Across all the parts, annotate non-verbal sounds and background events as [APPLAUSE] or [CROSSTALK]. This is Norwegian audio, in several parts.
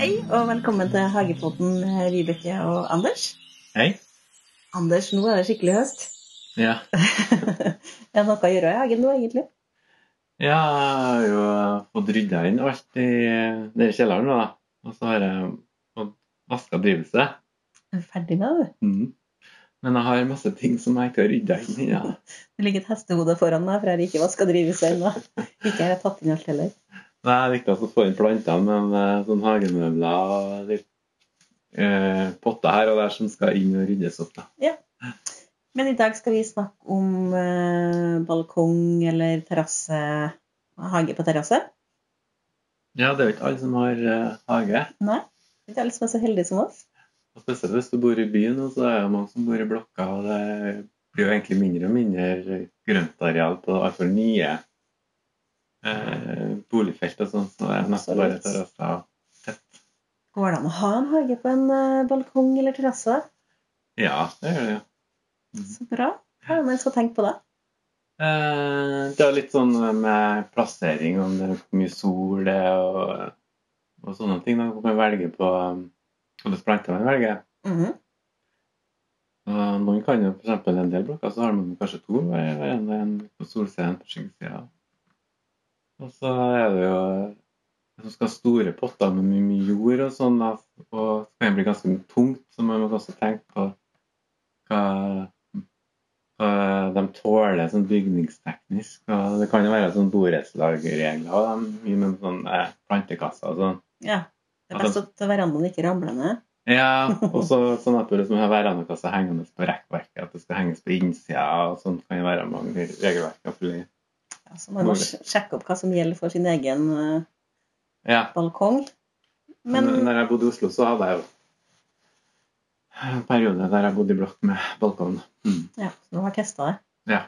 Hei, og velkommen til Hagepodden, Vibeke og Anders. Hei. Anders, nå er det skikkelig høst. [LAUGHS] Ja. Det er noe å gjøre i hagen nå, egentlig. ja, jeg har jo fått rydda inn alt i nede i kjelleren nå, da. Og så har jeg fått vaska drivhuset. Er du Ferdig med det, du. Mm. Men jeg har masse ting som jeg ikke har rydda inn i. Ja. Det ligger et hestehode foran meg, for jeg har ikke vaska drivhuset ennå. Ikke har jeg tatt inn alt heller. Det er viktig å få inn plantene, men eh, sånn hagemøbler og litt eh, potter her og der som skal inn og ryddes opp, da. Men i dag skal vi snakke om eh, balkong eller terrasse. Hage på terrasse. Ja, det er jo ikke alle som har eh, hage. Nei, det er ikke alle som er så heldige som oss. Og spesielt hvis du bor i byen, og så er det jo mange som bor i blokka, og det blir jo egentlig mindre og mindre grøntareal på i hvert fall nye eh, boligfelt og sånn, så det er nesten bare Absolutt. terrasser. Går det an å ha en hage på en eh, balkong eller terrasse? Ja, det gjør det jo. Så bra. Ja, men jeg skal tenke på det. Eh, det er litt sånn med plassering, om det er hvor mye sol det er, og, og sånne ting. Da kan man velge på um, hvilke planter man velger. Mhm. Og Eh, noen kan jo for eksempel en del blokker, så har man kanskje to hver, hver en, en på solsiden på skyggesida. Og så er det jo som skal ha store potter med mye, mye jord og sånn, da, og det kan bli ganske tungt, så man må også tenke på hva, hva de tåler sånn bygningsteknisk. Og det kan jo være sånn borettslagregler og de, mye med sånn eh, plantekasser og sånn. Ja. Det er best at verandaen ikke ramler ned. Ja, [LAUGHS] og så sånn at du liksom har verandakasse hengende på rekkverket, at det skal henges på innsida, og sånn kan det være mange regelverk. selvfølgelig. Ja, så man må Mulig. sj- sjekke opp hva som gjelder for sin egen eh, Ja, balkong. Men N- når jeg bodde i Oslo, så hadde jeg jo en periode der jeg bodde i blokk med balkong. Mm. ja, så du har testa det. Ja.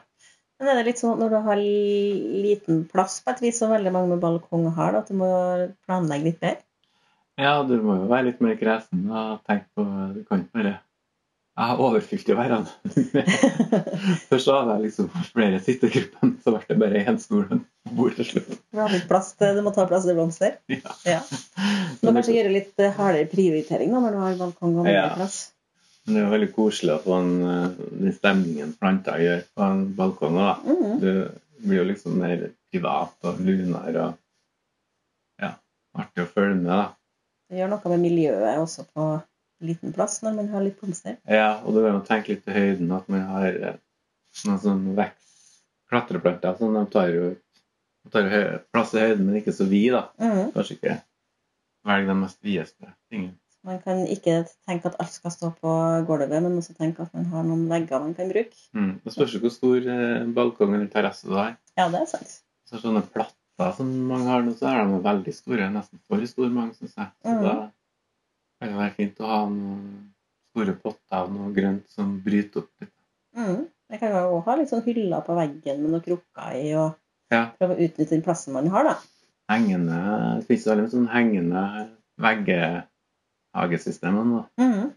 Men er det litt sånn at når du har li- liten plass på et vis, som veldig mange med balkong har, da, at du må planlegge litt mer? Ja, du må jo være litt mer kresen og tenke på Du kan ikke bare Jeg har overfylt jo verandaen. Først så hadde jeg liksom flere sittegruppen, så ble det bare én stol og et bord til slutt. For Du, har litt plass til, du må ta plass til blomster. Ja. Ja. Du må kanskje gjøre litt eh, hardere prioritering da, når du har balkong og mindre Ja. plass. Men det er jo veldig koselig å få en, eh, den stemningen planter gjør på en balkong. også, da. Mhm. Du blir jo liksom mer privat og lunere og ja, artig å følge med. da. Det gjør noe med miljøet også på liten plass når man har litt blomster. Ja, Og du kan jo tenke litt til høyden at man har eh, noen sånn vekst, klatreplanter. sånn De tar jo, de tar jo høy, plass i høyden, men ikke så vid. da. Mhm. Kanskje ikke velg de mest videste tingene. Man kan ikke tenke at alt skal stå på gulvet, men også tenke at man har noen vegger man kan bruke. Mm. Det spørs jo hvor stor eh, balkong eller terrasse du har. Ja, det er sant. Så sånne platter som mange har nå, så er de veldig store. Nesten for store, mange, syns jeg. Så Mhm. da kan det være fint å ha noen store potter og noe grønt som bryter opp litt. Mm. Jeg kan jo også ha litt sånn hyller på veggen med noen krukker i, og Ja. prøve å utnytte den plassen man har, da. Hengende Det finnes jo veldig mye sånn hengende veggehagesystemer nå. Mm.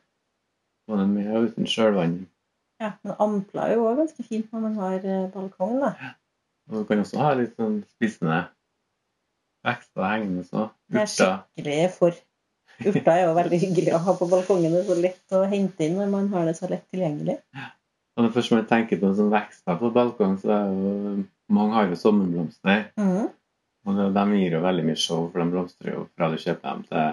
Både med og uten sjølvann. Ja, men ampla er jo også ganske fint når man har eh, balkong, da. Og du kan også ha litt sånn spissende vekster hengende så. Det er Urter. Skikkelig for. Urter er jo veldig hyggelig å ha på balkongen. Det er så lett å hente inn når man har det så lett tilgjengelig. Og det første man tenker på som vekster på balkong, så er jo Mange har jo sommerblomster. Mm. Og det, de gir jo veldig mye show, for de blomstrer jo fra du kjøper dem til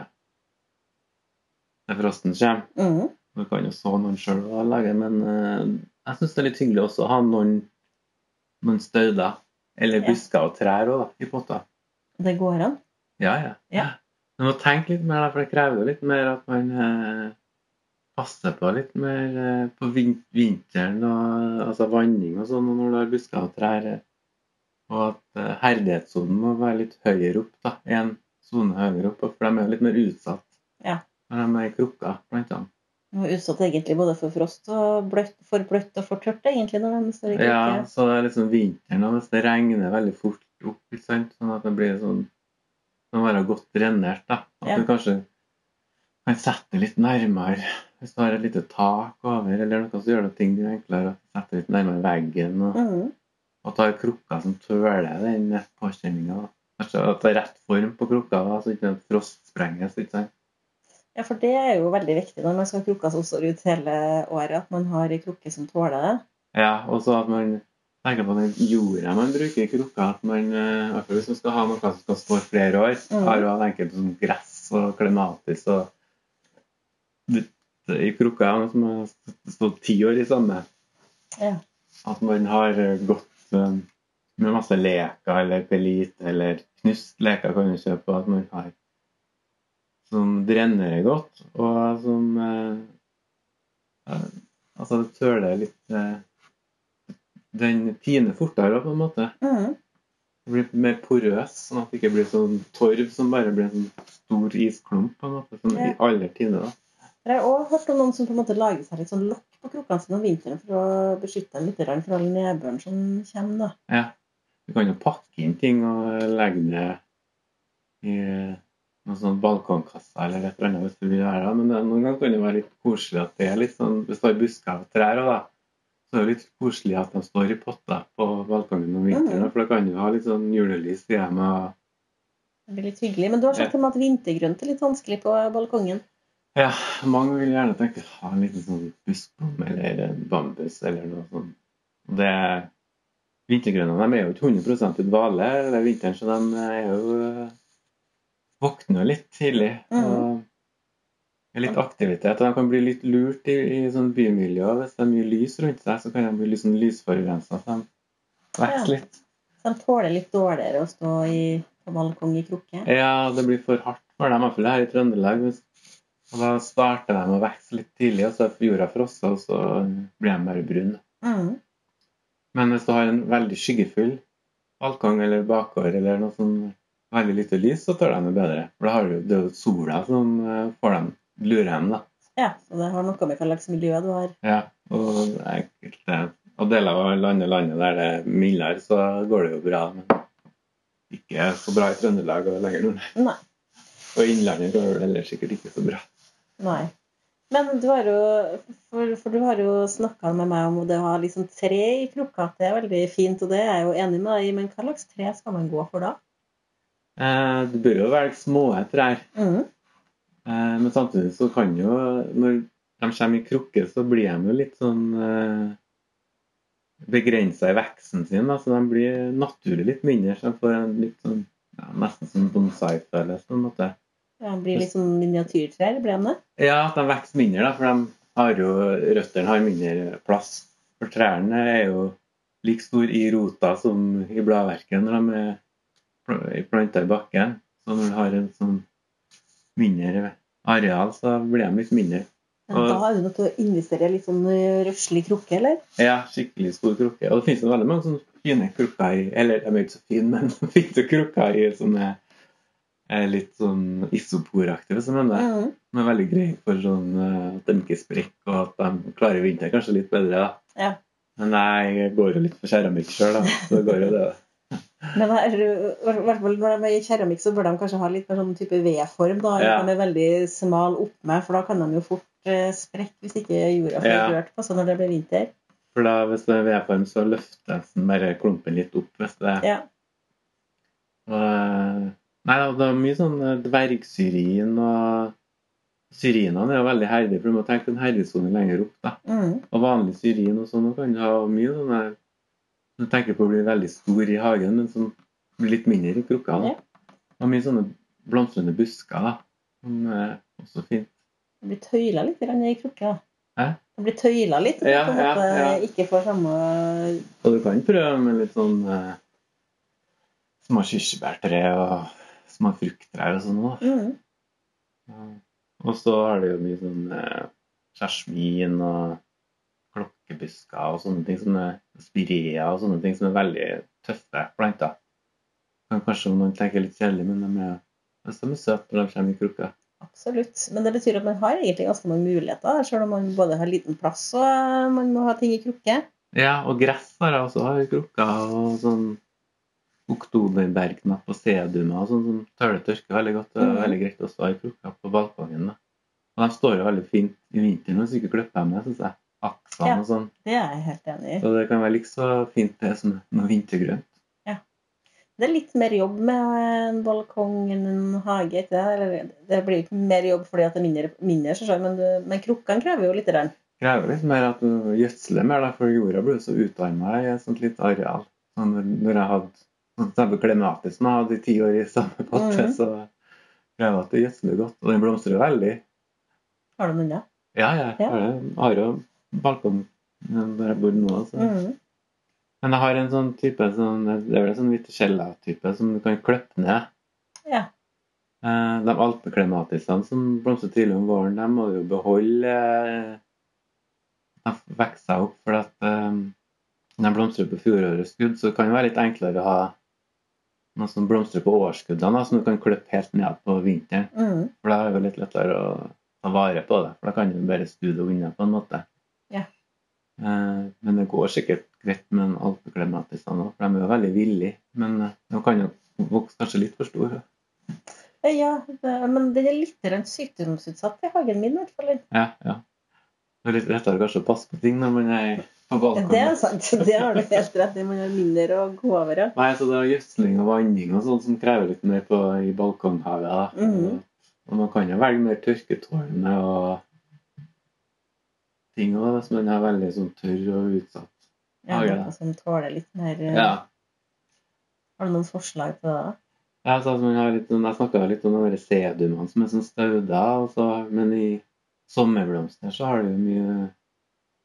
til frosten kommer. Mm. Du kan jo så noen sjøl og lage, men eh, jeg syns det er litt hyggelig også å ha noen, noen stauder. Eller Ja. busker og trær også, da, i potta. Det går an. Ja, ja. Ja. Du må tenke litt mer, da, for det krever jo litt mer at man eh, passer på litt mer eh, på vin vinteren, og, altså vanning og sånn, og når du har busker og trær. eh. Og at eh, herdighetssonen må være litt høyere opp, da. En sone høyere opp, for de er jo litt mer utsatt Ja. når de er i krukka, blant annet. De er utsatt egentlig både for frost og bløtt, for bløtt og for tørt, egentlig, når de står i krukke. Ja, så det er liksom vinteren, og hvis det regner veldig fort opp, ikke sant? sånn at det blir sånn Det må være godt drenert, da. At Ja. du kanskje kan sette det litt nærmere. Hvis du har et Mm. lite tak over, eller noe, så gjør det ting enklere. Sette det litt nærmere veggen. Og, Mhm. At du har krukka som tøler den påkjenninga. At det er rett form på krukka, da, så ikke den frostsprenges. ikke sant? Ja, for det er jo veldig viktig når man skal ha krukker som står ut hele året, at man har ei krukke som tåler det. Ja, og så at man tenker på den jorda man bruker i krukka. At man, eh, i hvert fall hvis man skal ha noe som skal stå i flere år, Mm. har jo enkelte som sånn gress og klematis og det- i krukka ja, som har stått ti år i samme. Ja. At man har eh, gått eh, med masse leker eller pelit eller knust leker kan du kjøpe, og at man har som drennerer godt, og som eh, eh, Altså, det tøler litt eh, den tiner fortere, på en måte. Mhm. Den blir mer porøs, sånn at det ikke blir sånn torv som bare blir en sånn stor isklump, på en måte, som Ja. i alle tiner. da. For Jeg har også hørt om noen som på en måte lager seg litt sånn lokk på krukkene sine om vinteren for å beskytte dem litt grann for all nedbøren som kommer. da. Ja. Du kan jo pakke inn ting og legge det i noen sånn balkongkasse eller et eller annet hvis du vil være da. Men det, noen ganger kan det være litt koselig at det er litt sånn Hvis det er busker og trær også, da, så er det litt koselig at de står i potter på balkongen om vinteren. da, For da kan du ha litt sånn julelys i hjemmet. og Det blir litt hyggelig. Men du har sagt til meg at vintergrønt er litt vanskelig på balkongen. Ja, mange vil gjerne tenke ha en liten sånn buskblom eller en bambus eller noe sånt. Og Det, vintergrønne de er jo ikke 100 i dvale det er vinteren, så de er jo eh, våkner jo litt tidlig. Mhm. og det er litt aktivitet, og de kan bli litt lurt i, i sånn bymiljø. Hvis det er mye lys rundt seg, så kan de bli litt sånn lysforurensa. Så de Ja. vokser litt. Så de tåler litt dårligere å stå i, på balkong i krukke. Ja, det blir for hardt for dem, i hvert fall her i Trøndelag. Men- Og da starter de å vokse litt tidlig, og så er jorda frosset, og så blir de bare brune. Mhm. Men hvis du har en veldig skyggefull balkong eller bakgård eller noe sånn veldig lite lys, så tør de det bedre. For da har du det er jo sola som eh, får dem, lurer dem, da. Ja, så det har noe med hva slags miljø du har. Ja, og enkelte og deler av landet, landet der det er mildere, så går det jo bra. Men ikke så bra i Trøndelag og lenger nord. Nei. Og Innlandet går det ellers sikkert ikke så bra. Nei. Men du har jo, for, for du har jo snakka med meg om det å ha liksom tre i krukka. at Det er veldig fint, og det er jeg jo enig med deg i, men hva slags tre skal man gå for da? Eh, Du bør jo velge små trær, Mhm. eh, men samtidig så kan jo Når de kommer i krukke, så blir de jo litt sånn begrensa i veksten sin. da, så de blir naturlig litt mindre. Så de får en litt sånn ja, Nesten som bonsai-følelse, på en måte. Ja, blir litt sånn miniatyrtrær, blir de det? Ja, at de vokser mindre, da, for de har jo, røttene har mindre plass. For trærne er jo like store i rota som i bladverket når de er pl- planta i bakken. Så når du har en sånn mindre areal, så blir de litt mindre. Ja, Og- da er du nødt til å investere i litt sånn eh, røslig krukke, eller? Ja, skikkelig stor krukke. Og det finnes jo veldig mange sånne fine krukker i Eller de er ikke så fine, men [LAUGHS] det finnes jo krukker i sånne eh, litt sånn isoporaktige, som de er. Mhm. De er veldig greie for sånn eh, at de ikke sprekker, og at de klarer vinteren kanskje litt bedre. da. Ja. Men jeg går jo litt for keramikk sjøl, da. Så det går jo det. da. Men her, i hvert fall når de er i keramikk, så bør de kanskje ha litt mer sånn type V-form. da, eller Ja. at De er veldig smal opp med, for da kan de jo fort eh, sprekke hvis ikke jorda får Ja. rørt på seg når det blir vinter. For da, hvis det er vedform, så løftes den bare klumpen litt opp. hvis det er. Ja. Og, eh, nei, da, det er mye sånn eh, dvergsyrin og Syrinene er jo veldig herdige, for du må tenke en herdigsone lenger opp. da. Mhm. Og vanlig syrin og sånn og kan du ha mye sånne Du tenker på å bli veldig stor i hagen, men som blir litt mindre i krukka. da. Ja. Og mye sånne blomstrende busker, da. Som er også fint. Det blir tøyla litt grann i krukka. Hæ? Det blir tøyla litt, så Ja, på en måte ja, ja. ikke får samme Og du kan prøve med litt sånn eh, små kirsebærtre og små frukttrær og sånn òg. Mhm. Og så har det jo mye sånn eh, jasmin og klokkebusker og sånne ting som er spirea og sånne ting som er veldig tøffe planter. Kan kanskje noen tenker litt kjedelig, men de er, de er søte når de kommer i krukka. Absolutt. Men det betyr at man har egentlig ganske mange muligheter, selv om man både har liten plass og eh, man må ha ting i krukke. Ja, og gress har jeg også. Har jeg krukker og sånn oktoberbergknapp og sedumer og sånn som tøler tørke veldig godt. Det er Mhm. veldig greit også å ha i krukker på balkongen. da. Og de står jo veldig fint i vinteren hvis du ikke klipper dem ned, syns jeg. aksene Ja. og sånn. Det er jeg helt enig i. Så det kan være likså fint det som noe vintergrønt. Det er litt mer jobb med en balkong enn en hage. Ikke det? Eller, det blir ikke mer jobb fordi at det er mindre, mindre så men, du- men krukkene krever jo litt. Rann. Krever litt mer at du gjødsler mer, da, for jorda blir jo så utarma i et sånt litt areal. Sånn Når når jeg hadde sånn samme klematis som jeg hadde i ti år i samme potte, Mhm. så krever at det gjødsler godt. Og den blomstrer veldig. Har du den unna? Ja, jeg Ja. har det. har jo balkong der jeg bor nå. Så. Mhm. Men jeg har en sånn type sånn, Det er vel en sånn Viticella-type som du kan klippe ned. Ja. Eh, De alpeklimatisene som blomstrer tidlig om våren, de må du jo beholde eh, De vokser seg opp, for at eh, de blomstrer på fjorårets skudd, så det kan være litt enklere å ha noe som blomstrer på årskuddene, da, som du kan klippe helt ned på vinteren. Mhm. For da er det jo litt lettere å ta vare på det. For da kan du bare snu det unna på en måte. Ja. Eh, men det går sikkert greit med en alpeklimatis nå, for de er jo veldig villige. Men eh, de kan jo vokse kanskje litt for store. Ja, det, men den er litt rann sykdomsutsatt i hagen min, i hvert fall. Ja, ja. Det er litt lettere kanskje å passe på ting når man er på Ja, Det er balkongen. [LAUGHS] sant. Det har du helt rett i. Man har mindre å gå over. ja. Nei, så det er gjødsling og vanning og sånn som krever litt mer på, i balkonghavet. da. Mhm. Og man kan jo velge mer tørketårne og ting òg, hvis man er veldig sånn tørr og utsatt. Ja, Hage, noe da. som tåler litt mer eh, Ja. Har du noen forslag til det? da? Ja, så at man har litt, sånn- jeg snakka litt om de der sedumene som er sånn stauder, og så- men i sommerblomster så har du jo mye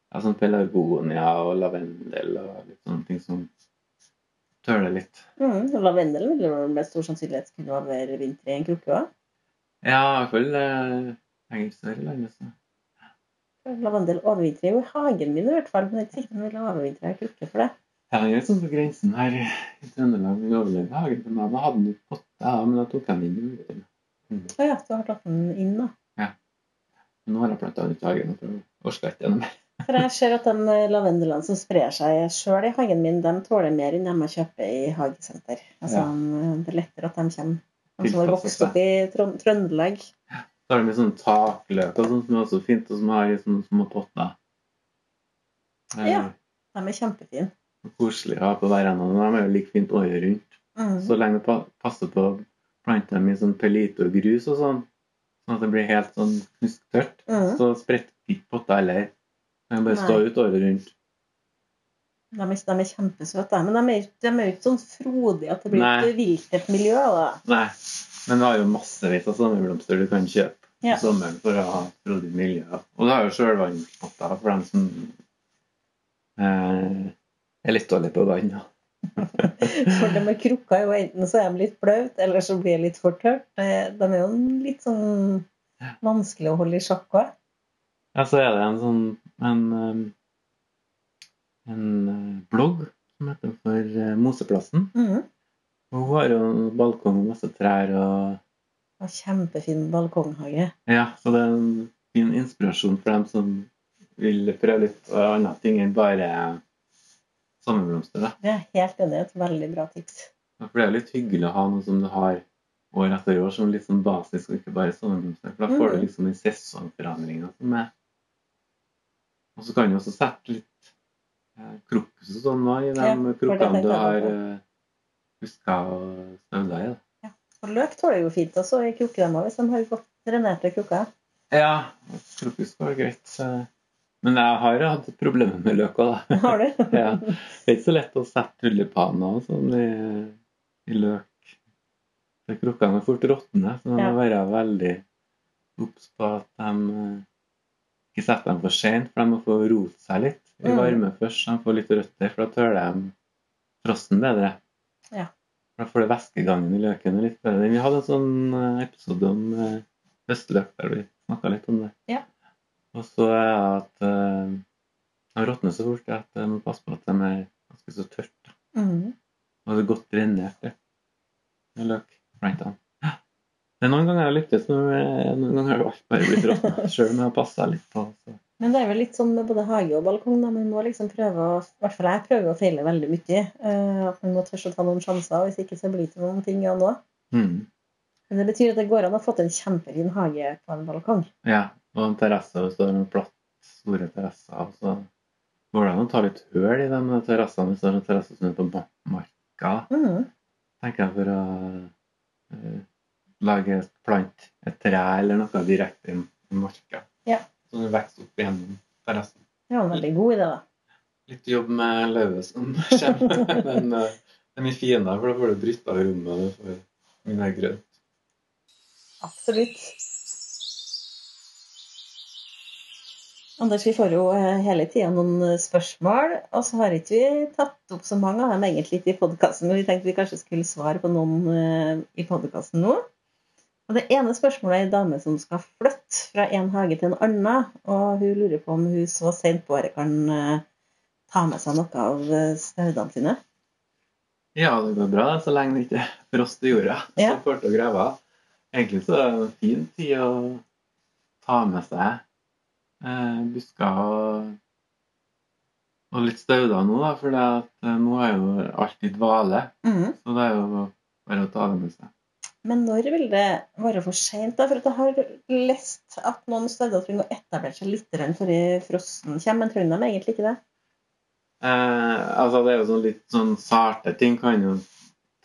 ja, sånn pelargonia og lavendel og litt sånne ting som tøler litt. Mhm. Lavendelen vil jo med stor sannsynlighet kunne være vinter i en krukke òg. Ja, i hvert fall eh, henger ikke så veldig lenge. Så. Lavendel overvintrer jo i hagen min i hvert fall. Men det er ikke sikkert den vil overvintre i en krukke for det. Jeg henger litt sånn på grensen her i Trøndelag. Vi overlevde hagen til meg. Jeg hadde den i potte, ja, men jeg tok den inn i uterom. Å ja, du har tatt den inn, da. Men Nå har jeg planta den ut i hagen. for Jeg orker ikke gjennom. For jeg ser at de eh, lavendelene som sprer seg sjøl i hagen min, de tåler mer enn dem jeg kjøper i hagesenter. Altså, Ja. de- Det er lettere at de kommer. De som har Tilpasser vokst seg. opp i Trond Trøndelag. Så har de sånn takløk og sånn som er også fint, og som har i sånne små potter. Eh, Ja. De er kjempefine. Koselig å ha på verandaen. og De er jo like fint året rundt. Mm. Så lenge du pa- passer på å plante dem i sånn pelite og grus og sånn, sånn at det blir helt sånn knusktørt, Mm. så spretter ikke potta heller. De kan bare stå Nei. ut året rundt. De, er, de er kjempesøte, de. men de er, de er jo ikke sånn frodige at det blir Nei. et viltet miljø. da. Nei. Men du har jo massevis av sommerblomster du kan kjøpe Ja. i sommeren for å ha et frodig miljø. Og du har jo sjølvannspotter for dem som eh, er litt dårlige på vann. da. For de med krukka er jo enten så er de litt blaut, eller så blir det litt for tørt. Eh, De er jo en litt sånn vanskelig å holde i sjakk òg. Ja, så er det en sånn en, eh, en eh, blogg som heter for eh, Moseplassen. Mm. Og hun har jo en balkong med masse trær og Og kjempefin balkonghage. Ja, så det er en fin inspirasjon for dem som vil prøve litt eh, andre ting enn bare sommerblomster. da. Det er jeg helt enig i. Et veldig bra tips. Ja, For det er jo litt hyggelig å ha noe som du har år etter år som litt sånn basis, og ikke bare sommerblomster. For da får du Mhm. liksom den sesongforandringa som er. Og så kan du også sette litt eh, krokus og sånn nå i de Ja, for det krukkene tenkte du jeg har på. eh, huska og støvla i. da. Og løk tåler jo fint også i krukkedemmer hvis de har godt drenerte krukker. [LAUGHS] Ja, krokus var greit. så- Men jeg har jo hatt problemer med løk òg, da. Har du? Ja. Det er ikke så lett å sette tulipaner og sånn i, i løk. For Krukkene er fort råtne, så man må Ja. være veldig obs på at de eh, ikke setter dem for sent, for de må få rote seg litt i Mm. varme først. så De får litt røtter, for da tøler de frosten bedre. Ja. For Da får du væskegangen i løken litt bedre. Vi hadde en sånn eh, episode om eh, høstløk der vi snakka litt om det. Ja. Og så er det at eh, de råtner så fort at jeg må passe på at de er ganske så tørt. da. Mhm. Og det er godt drenert. det. Med løk. Blant annet. Men noen ganger har jeg lykkes, men noen ganger har det alt bare blitt råtna. Sjøl om jeg har passa litt på. Så. Men det er vel litt sånn med både hage og balkong. Da. Man må liksom prøve å, i hvert fall jeg prøver å feile veldig mye. eh, At man må tørre å ta noen sjanser. Hvis ikke så blir det ikke noen ting av nå. Mm. Men det betyr at det går an å få til en kjempefin hage på en balkong. Ja. Og en terrasse og så er det noe platt store terrasser. Så går det an å ta litt høl i de terrassene hvis det er en terrasse som er på ma- marka. Mm. Tenker jeg for å eh, lage et plant, et tre eller noe direkte i i marka. Ja. Så det vokser opp gjennom terrassen. Det var en veldig god idé, da. Litt jobb med løvet [LAUGHS] som kommer, men eh, det er mye finere, for da får du bryta av rommet. og Du får mye mer grønt. Absolutt. Anders, vi får jo eh, hele tida noen eh, spørsmål, og så har ikke vi tatt opp så mange av dem egentlig i podkasten. Vi tenkte vi kanskje skulle svare på noen eh, i podkasten nå. Og Det ene spørsmålet er ei dame som skal flytte fra en hage til en annen. Og hun lurer på om hun så sent på året kan eh, ta med seg noe av eh, staudene sine. Ja, det går bra det, så lenge det ikke er frost i jorda. Ja. Så får til å grave. Egentlig så er det en fin tid å ta med seg eh, busker og, og litt stauder nå, da, for det at, eh, nå er jo alt i dvale. Mhm. Så det er jo bare å ta det med seg. Men når vil det være for seint? For at jeg har lest at noen steder trenger å etablere seg litt grann før frosten kommer. Men trenger de egentlig ikke det? Eh, altså, det er jo sånn litt sånn sarte ting kan jo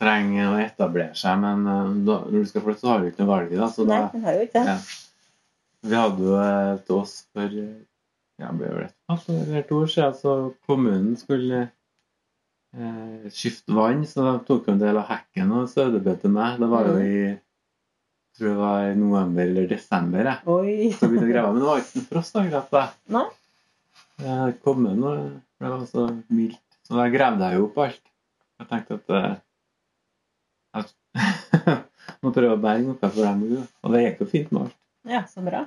trenge å etablere seg, men eh, da, når du skal flytte, så har du ikke noe valg i det. Så Nei, da, de har jo ikke det. Ja. Vi hadde jo eh, til oss for eh, ja, det ble vel et halvt år eller to år siden, så kommunen skulle eh, skifte vann, så de tok jo en del av hekken og stødebød til meg. Det var jo i Mm. tror jeg det var i november eller desember. Jeg. Oi. Så begynte jeg å grave, men det var ikke noe frost akkurat da. Nei. Jeg kom inn, og det var så mildt. Så da gravde jeg jo opp alt. Jeg tenkte at, eh, at [LAUGHS] Må prøve å berge noe for dem. jo. Og det gikk jo fint med alt. Ja, så bra.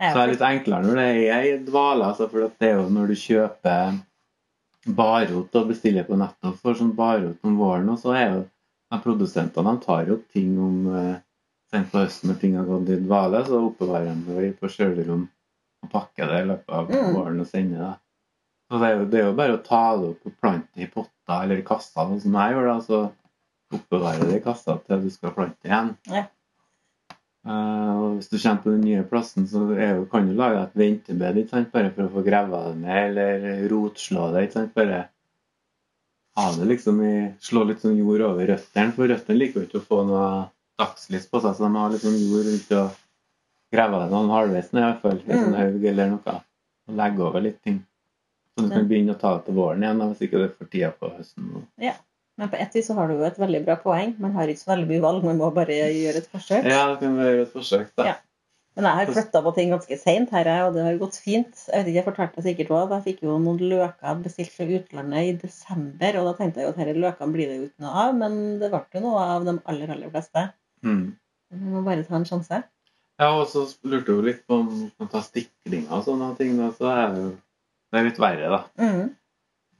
Så det er litt enklere når det er i dvale, altså, for at det er jo når du kjøper barot og bestiller på nettet og får sånn barot om våren, og så er jo de produsentene de tar jo opp ting om eh, sent på høsten når ting har gått i dvale, så oppbevarer de det på kjølerom og pakker det i løpet av Mm. våren og sender det. Så det er, jo, det er jo bare å ta det opp og plante i potter eller i kasser, sånn som jeg gjør, da, så oppbevarer det i kassa til du skal plante igjen. Eh, og hvis du kommer på den nye plassen, så er jo, kan du lage et ventebed ikke sant? bare for å få grava det ned, eller rotslå det. Ikke sant? Bare ha det liksom i, slå litt sånn jord over røttene, for røttene liker jo ikke å få noe dagslys på seg, så de har litt sånn jord rundt og grave det noen halvveis ned, i hvert fall. En Mm. sånn haug eller noe. Og legge over litt ting. Så du kan begynne å ta det til våren igjen, da, hvis ikke det er for tida på høsten. Men på ett vis så har du jo et veldig bra poeng. Man har ikke så veldig mye valg, man må bare gjøre et forsøk. Ja, det kan være et forsøk, da. Ja. Men jeg har flytta på ting ganske seint her, jeg, og det har gått fint. Jeg vet ikke, jeg fortalte det sikkert også, at jeg fikk jo noen løker bestilt fra utlandet i desember, og da tenkte jeg jo at disse løkene blir det jo ikke noe av, men det ble jo noe av de aller, aller fleste. Mm. Vi må bare ta en sjanse. Ja, og så lurte hun litt på om hun kan ta stiklinger og sånne ting. Da, så er det jo det er litt verre, da. Mm.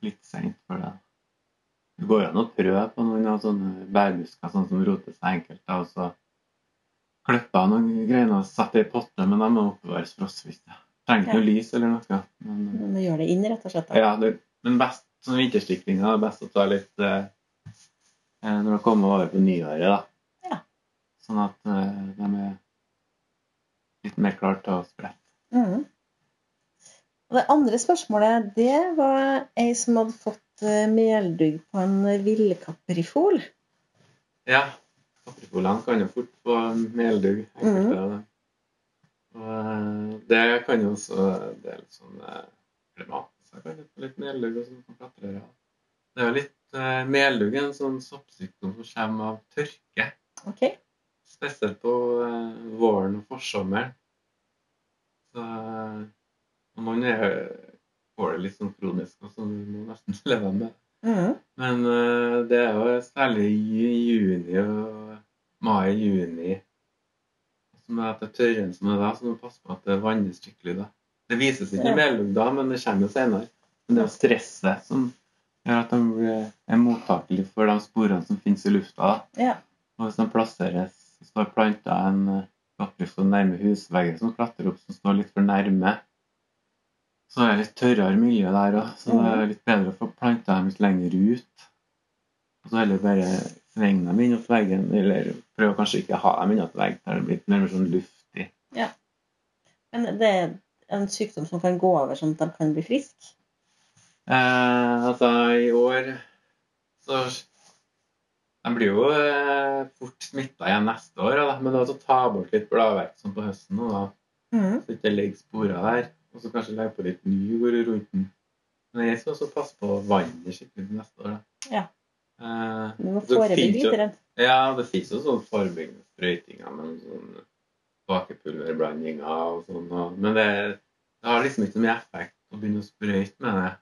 Litt seint for det. Det går jo an å prøve på noen av sånne bærbusker sånn som roter seg enkelt. da, og så klippe av noen greiner og sette i potte, men de må oppbevares frostfritt. da. Trenger ikke noe lys eller noe. Men, eh, Men det gjør det inn, rett og slett. Da. ja, det, men best sånn vinterstiklinger er best å ta litt eh, eh, når det kommer over på nyåret, da. Ja. Sånn at eh, de er litt mer klare til å sprette. Mhm. Og det andre spørsmålet, det var ei som hadde fått eh, meldugg på en villkaprifol. Ja. Kaprifolene kan jo fort få meldugg. enkelte av dem. Og, eh, Det kan jo også Det er litt sånn eh, problematisk. Jeg kan jo få litt meldugg og sånn på klatrere. Det er jo litt eh, Meldugg er en sånn soppsykdom som kommer av tørke. Ok? Spesielt på eh, våren og forsommeren. Så eh, og man er, får det litt sånn kronisk, og så må man nesten [LAUGHS] leve med det. Mhm. Men eh, det er jo særlig i juni og mai-juni som er at det er tørren som er da, så du må passe på at det vannes skikkelig da. Det vises ikke Ja. i mellom da, men det kommer jo senere. Men det er jo stresset som gjør at de blir- er mottakelige for de sporene som finnes i lufta. da. Ja. Og hvis de plasseres, så står planta en eh, kaprifol nærme husvegger som klatrer opp, som står litt for nærme, så er det litt tørrere miljø der òg. Så det er litt bedre å få planta dem litt lenger ut. Og så heller bare svinge dem inn mot veggen, eller prøve å kanskje ikke ha dem innat vegg der det blir litt mer sånn luftig. Men det, en sykdom som kan gå over sånn at de kan bli friske? Eh, altså, i år så De blir jo eh, fort smitta igjen neste år, da. men det er å ta bort litt bladverk sånn på høsten nå, da. Mm. så det ikke ligger sporer der. Og så kanskje legge på litt ny jord rundt den. Men jeg skal også passe på vannet skikkelig til neste år. da. Ja. Eh, Du må Det forebygge finnes jo- litt. Redd. Ja, det fins jo sånne forebyggende sprøytinger med sånn bakepulverblandinger og sånn. og- Men det, det har liksom ikke så mye effekt å begynne å sprøyte med det.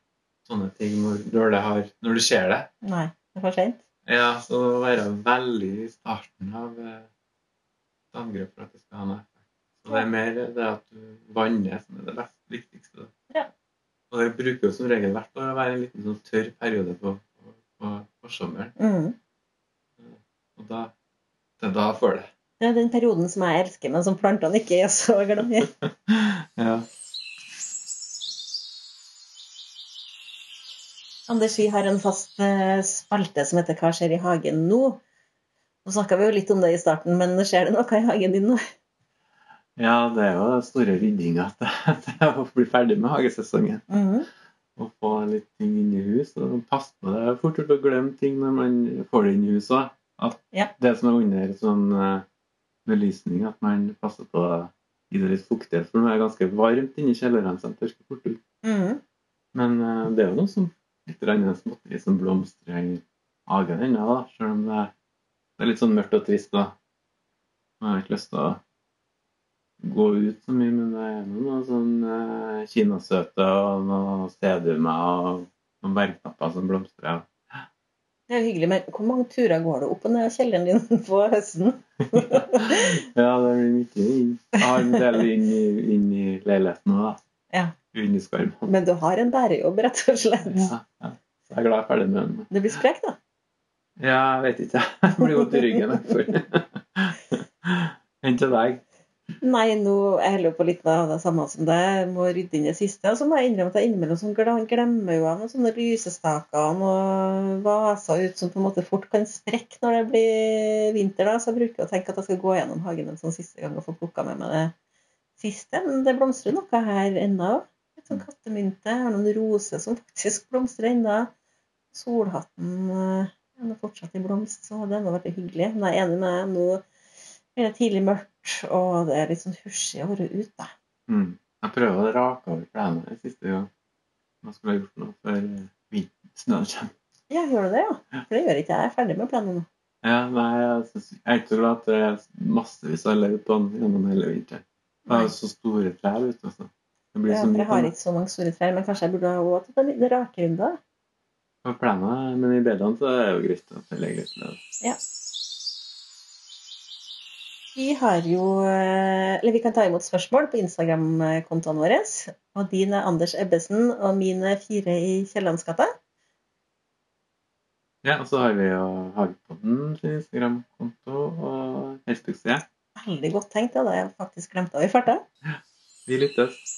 Sånne ting når, når, det har, når du ser det. Nei, det er for sent. Ja, så det må være veldig i starten av eh, et angrep for at det skal ha noe effekt. Så det er mer det at du vanner som er det best, viktigste. Ja. Og det bruker jo som regel hvert år å være en liten sånn tørr periode på, på, på, på sommeren. Mm. Og da, det er da får det. Det er den perioden som jeg elsker, men som plantene ikke er så glad i. Ja. Anders, vi har en fast eh, spalte som heter 'Hva skjer i hagen nå?' Nå snakka vi jo litt om det i starten, men skjer det noe i hagen din nå? ja, det er jo den store ryddinga [LAUGHS] til å bli ferdig med hagesesongen. Mhm. Og få litt ting inn i hus. Og passe på det. Det er fort gjort å glemme ting når man får det inn i huset. At Ja. Det som er under sånn eh, belysning, at man passer på å gi det litt fuktighet. For det er ganske varmt inni kjellerne, så det tørker fort ut. Mhm. Men eh, det er jo noe som litt grann småtteri som blomstrer i hagen ennå, da. Selv om det, det er litt sånn mørkt og trist, da. Jeg har ikke lyst til å gå ut så mye, men det er nå noe sånn eh, kinasøte og noe stedumer og noen bergtapper som blomstrer. Det er jo hyggelig, men hvor mange turer går du opp og ned av kjelleren din [LAUGHS] på høsten? Ja, det blir mye inn. Jeg har en del inn i, inn i leiligheten òg, da. Ja. Under skarven. Men du har en bærejobb, rett og slett. Ja, ja. Så jeg er glad jeg er ferdig med den. Det blir sprekt, da. Ja, jeg vet ikke. [LAUGHS] Jeg blir vondt i ryggen. derfor. [LAUGHS] Enn til deg. Nei, nå jeg holder jo på litt av det samme som deg. Jeg Må rydde inn det siste. Og så må jeg innrømme at jeg innimellom sånn gla- glemmer jo av noen sånne lysestaker og vaser ut som på en måte fort kan sprekke når det blir vinter. da. Så jeg bruker å tenke at jeg skal gå gjennom hagen en sånn siste gang og få plukka med meg det siste. Men det blomstrer noe her ennå. Litt sånn kattemynte. Jeg har noen roser som faktisk blomstrer ennå. Solhatten eh, den er fortsatt i blomst, så det har vært hyggelig. Men jeg er enig med deg. nå blir det tidlig mørkt, og det er litt sånn husjig å være ute. da. Mm. Jeg prøver å rake over klærne i siste gang. Hva skulle jeg gjort eh, nå før vinteren snøen kommer? Ja, gjør du det, ja? For det gjør ikke jeg. Jeg er ferdig med planen nå. Ja, nei, jeg synes- jeg er ikke så glad at det er massevis av løv på den gjennom hele vinteren. Det er jo så store trær ute. Altså. Det blir Ja, så for mye jeg har ikke så mange store trær, men kanskje jeg burde ha råd til en liten rakerunde? da. på plenen, men i bedene så er det jo greit at det ligger litt løv. Vi har jo eh, Eller vi kan ta imot spørsmål på Instagram-kontoene våre. Og din er Anders Ebbesen, og min er Fire i Kiellandsgata. Ja, og så har vi jo Hagepodden sin Instagram-konto og Facebook-side. Veldig godt tenkt, ja. Det hadde jeg faktisk glemt av i farta. Vi lyttes.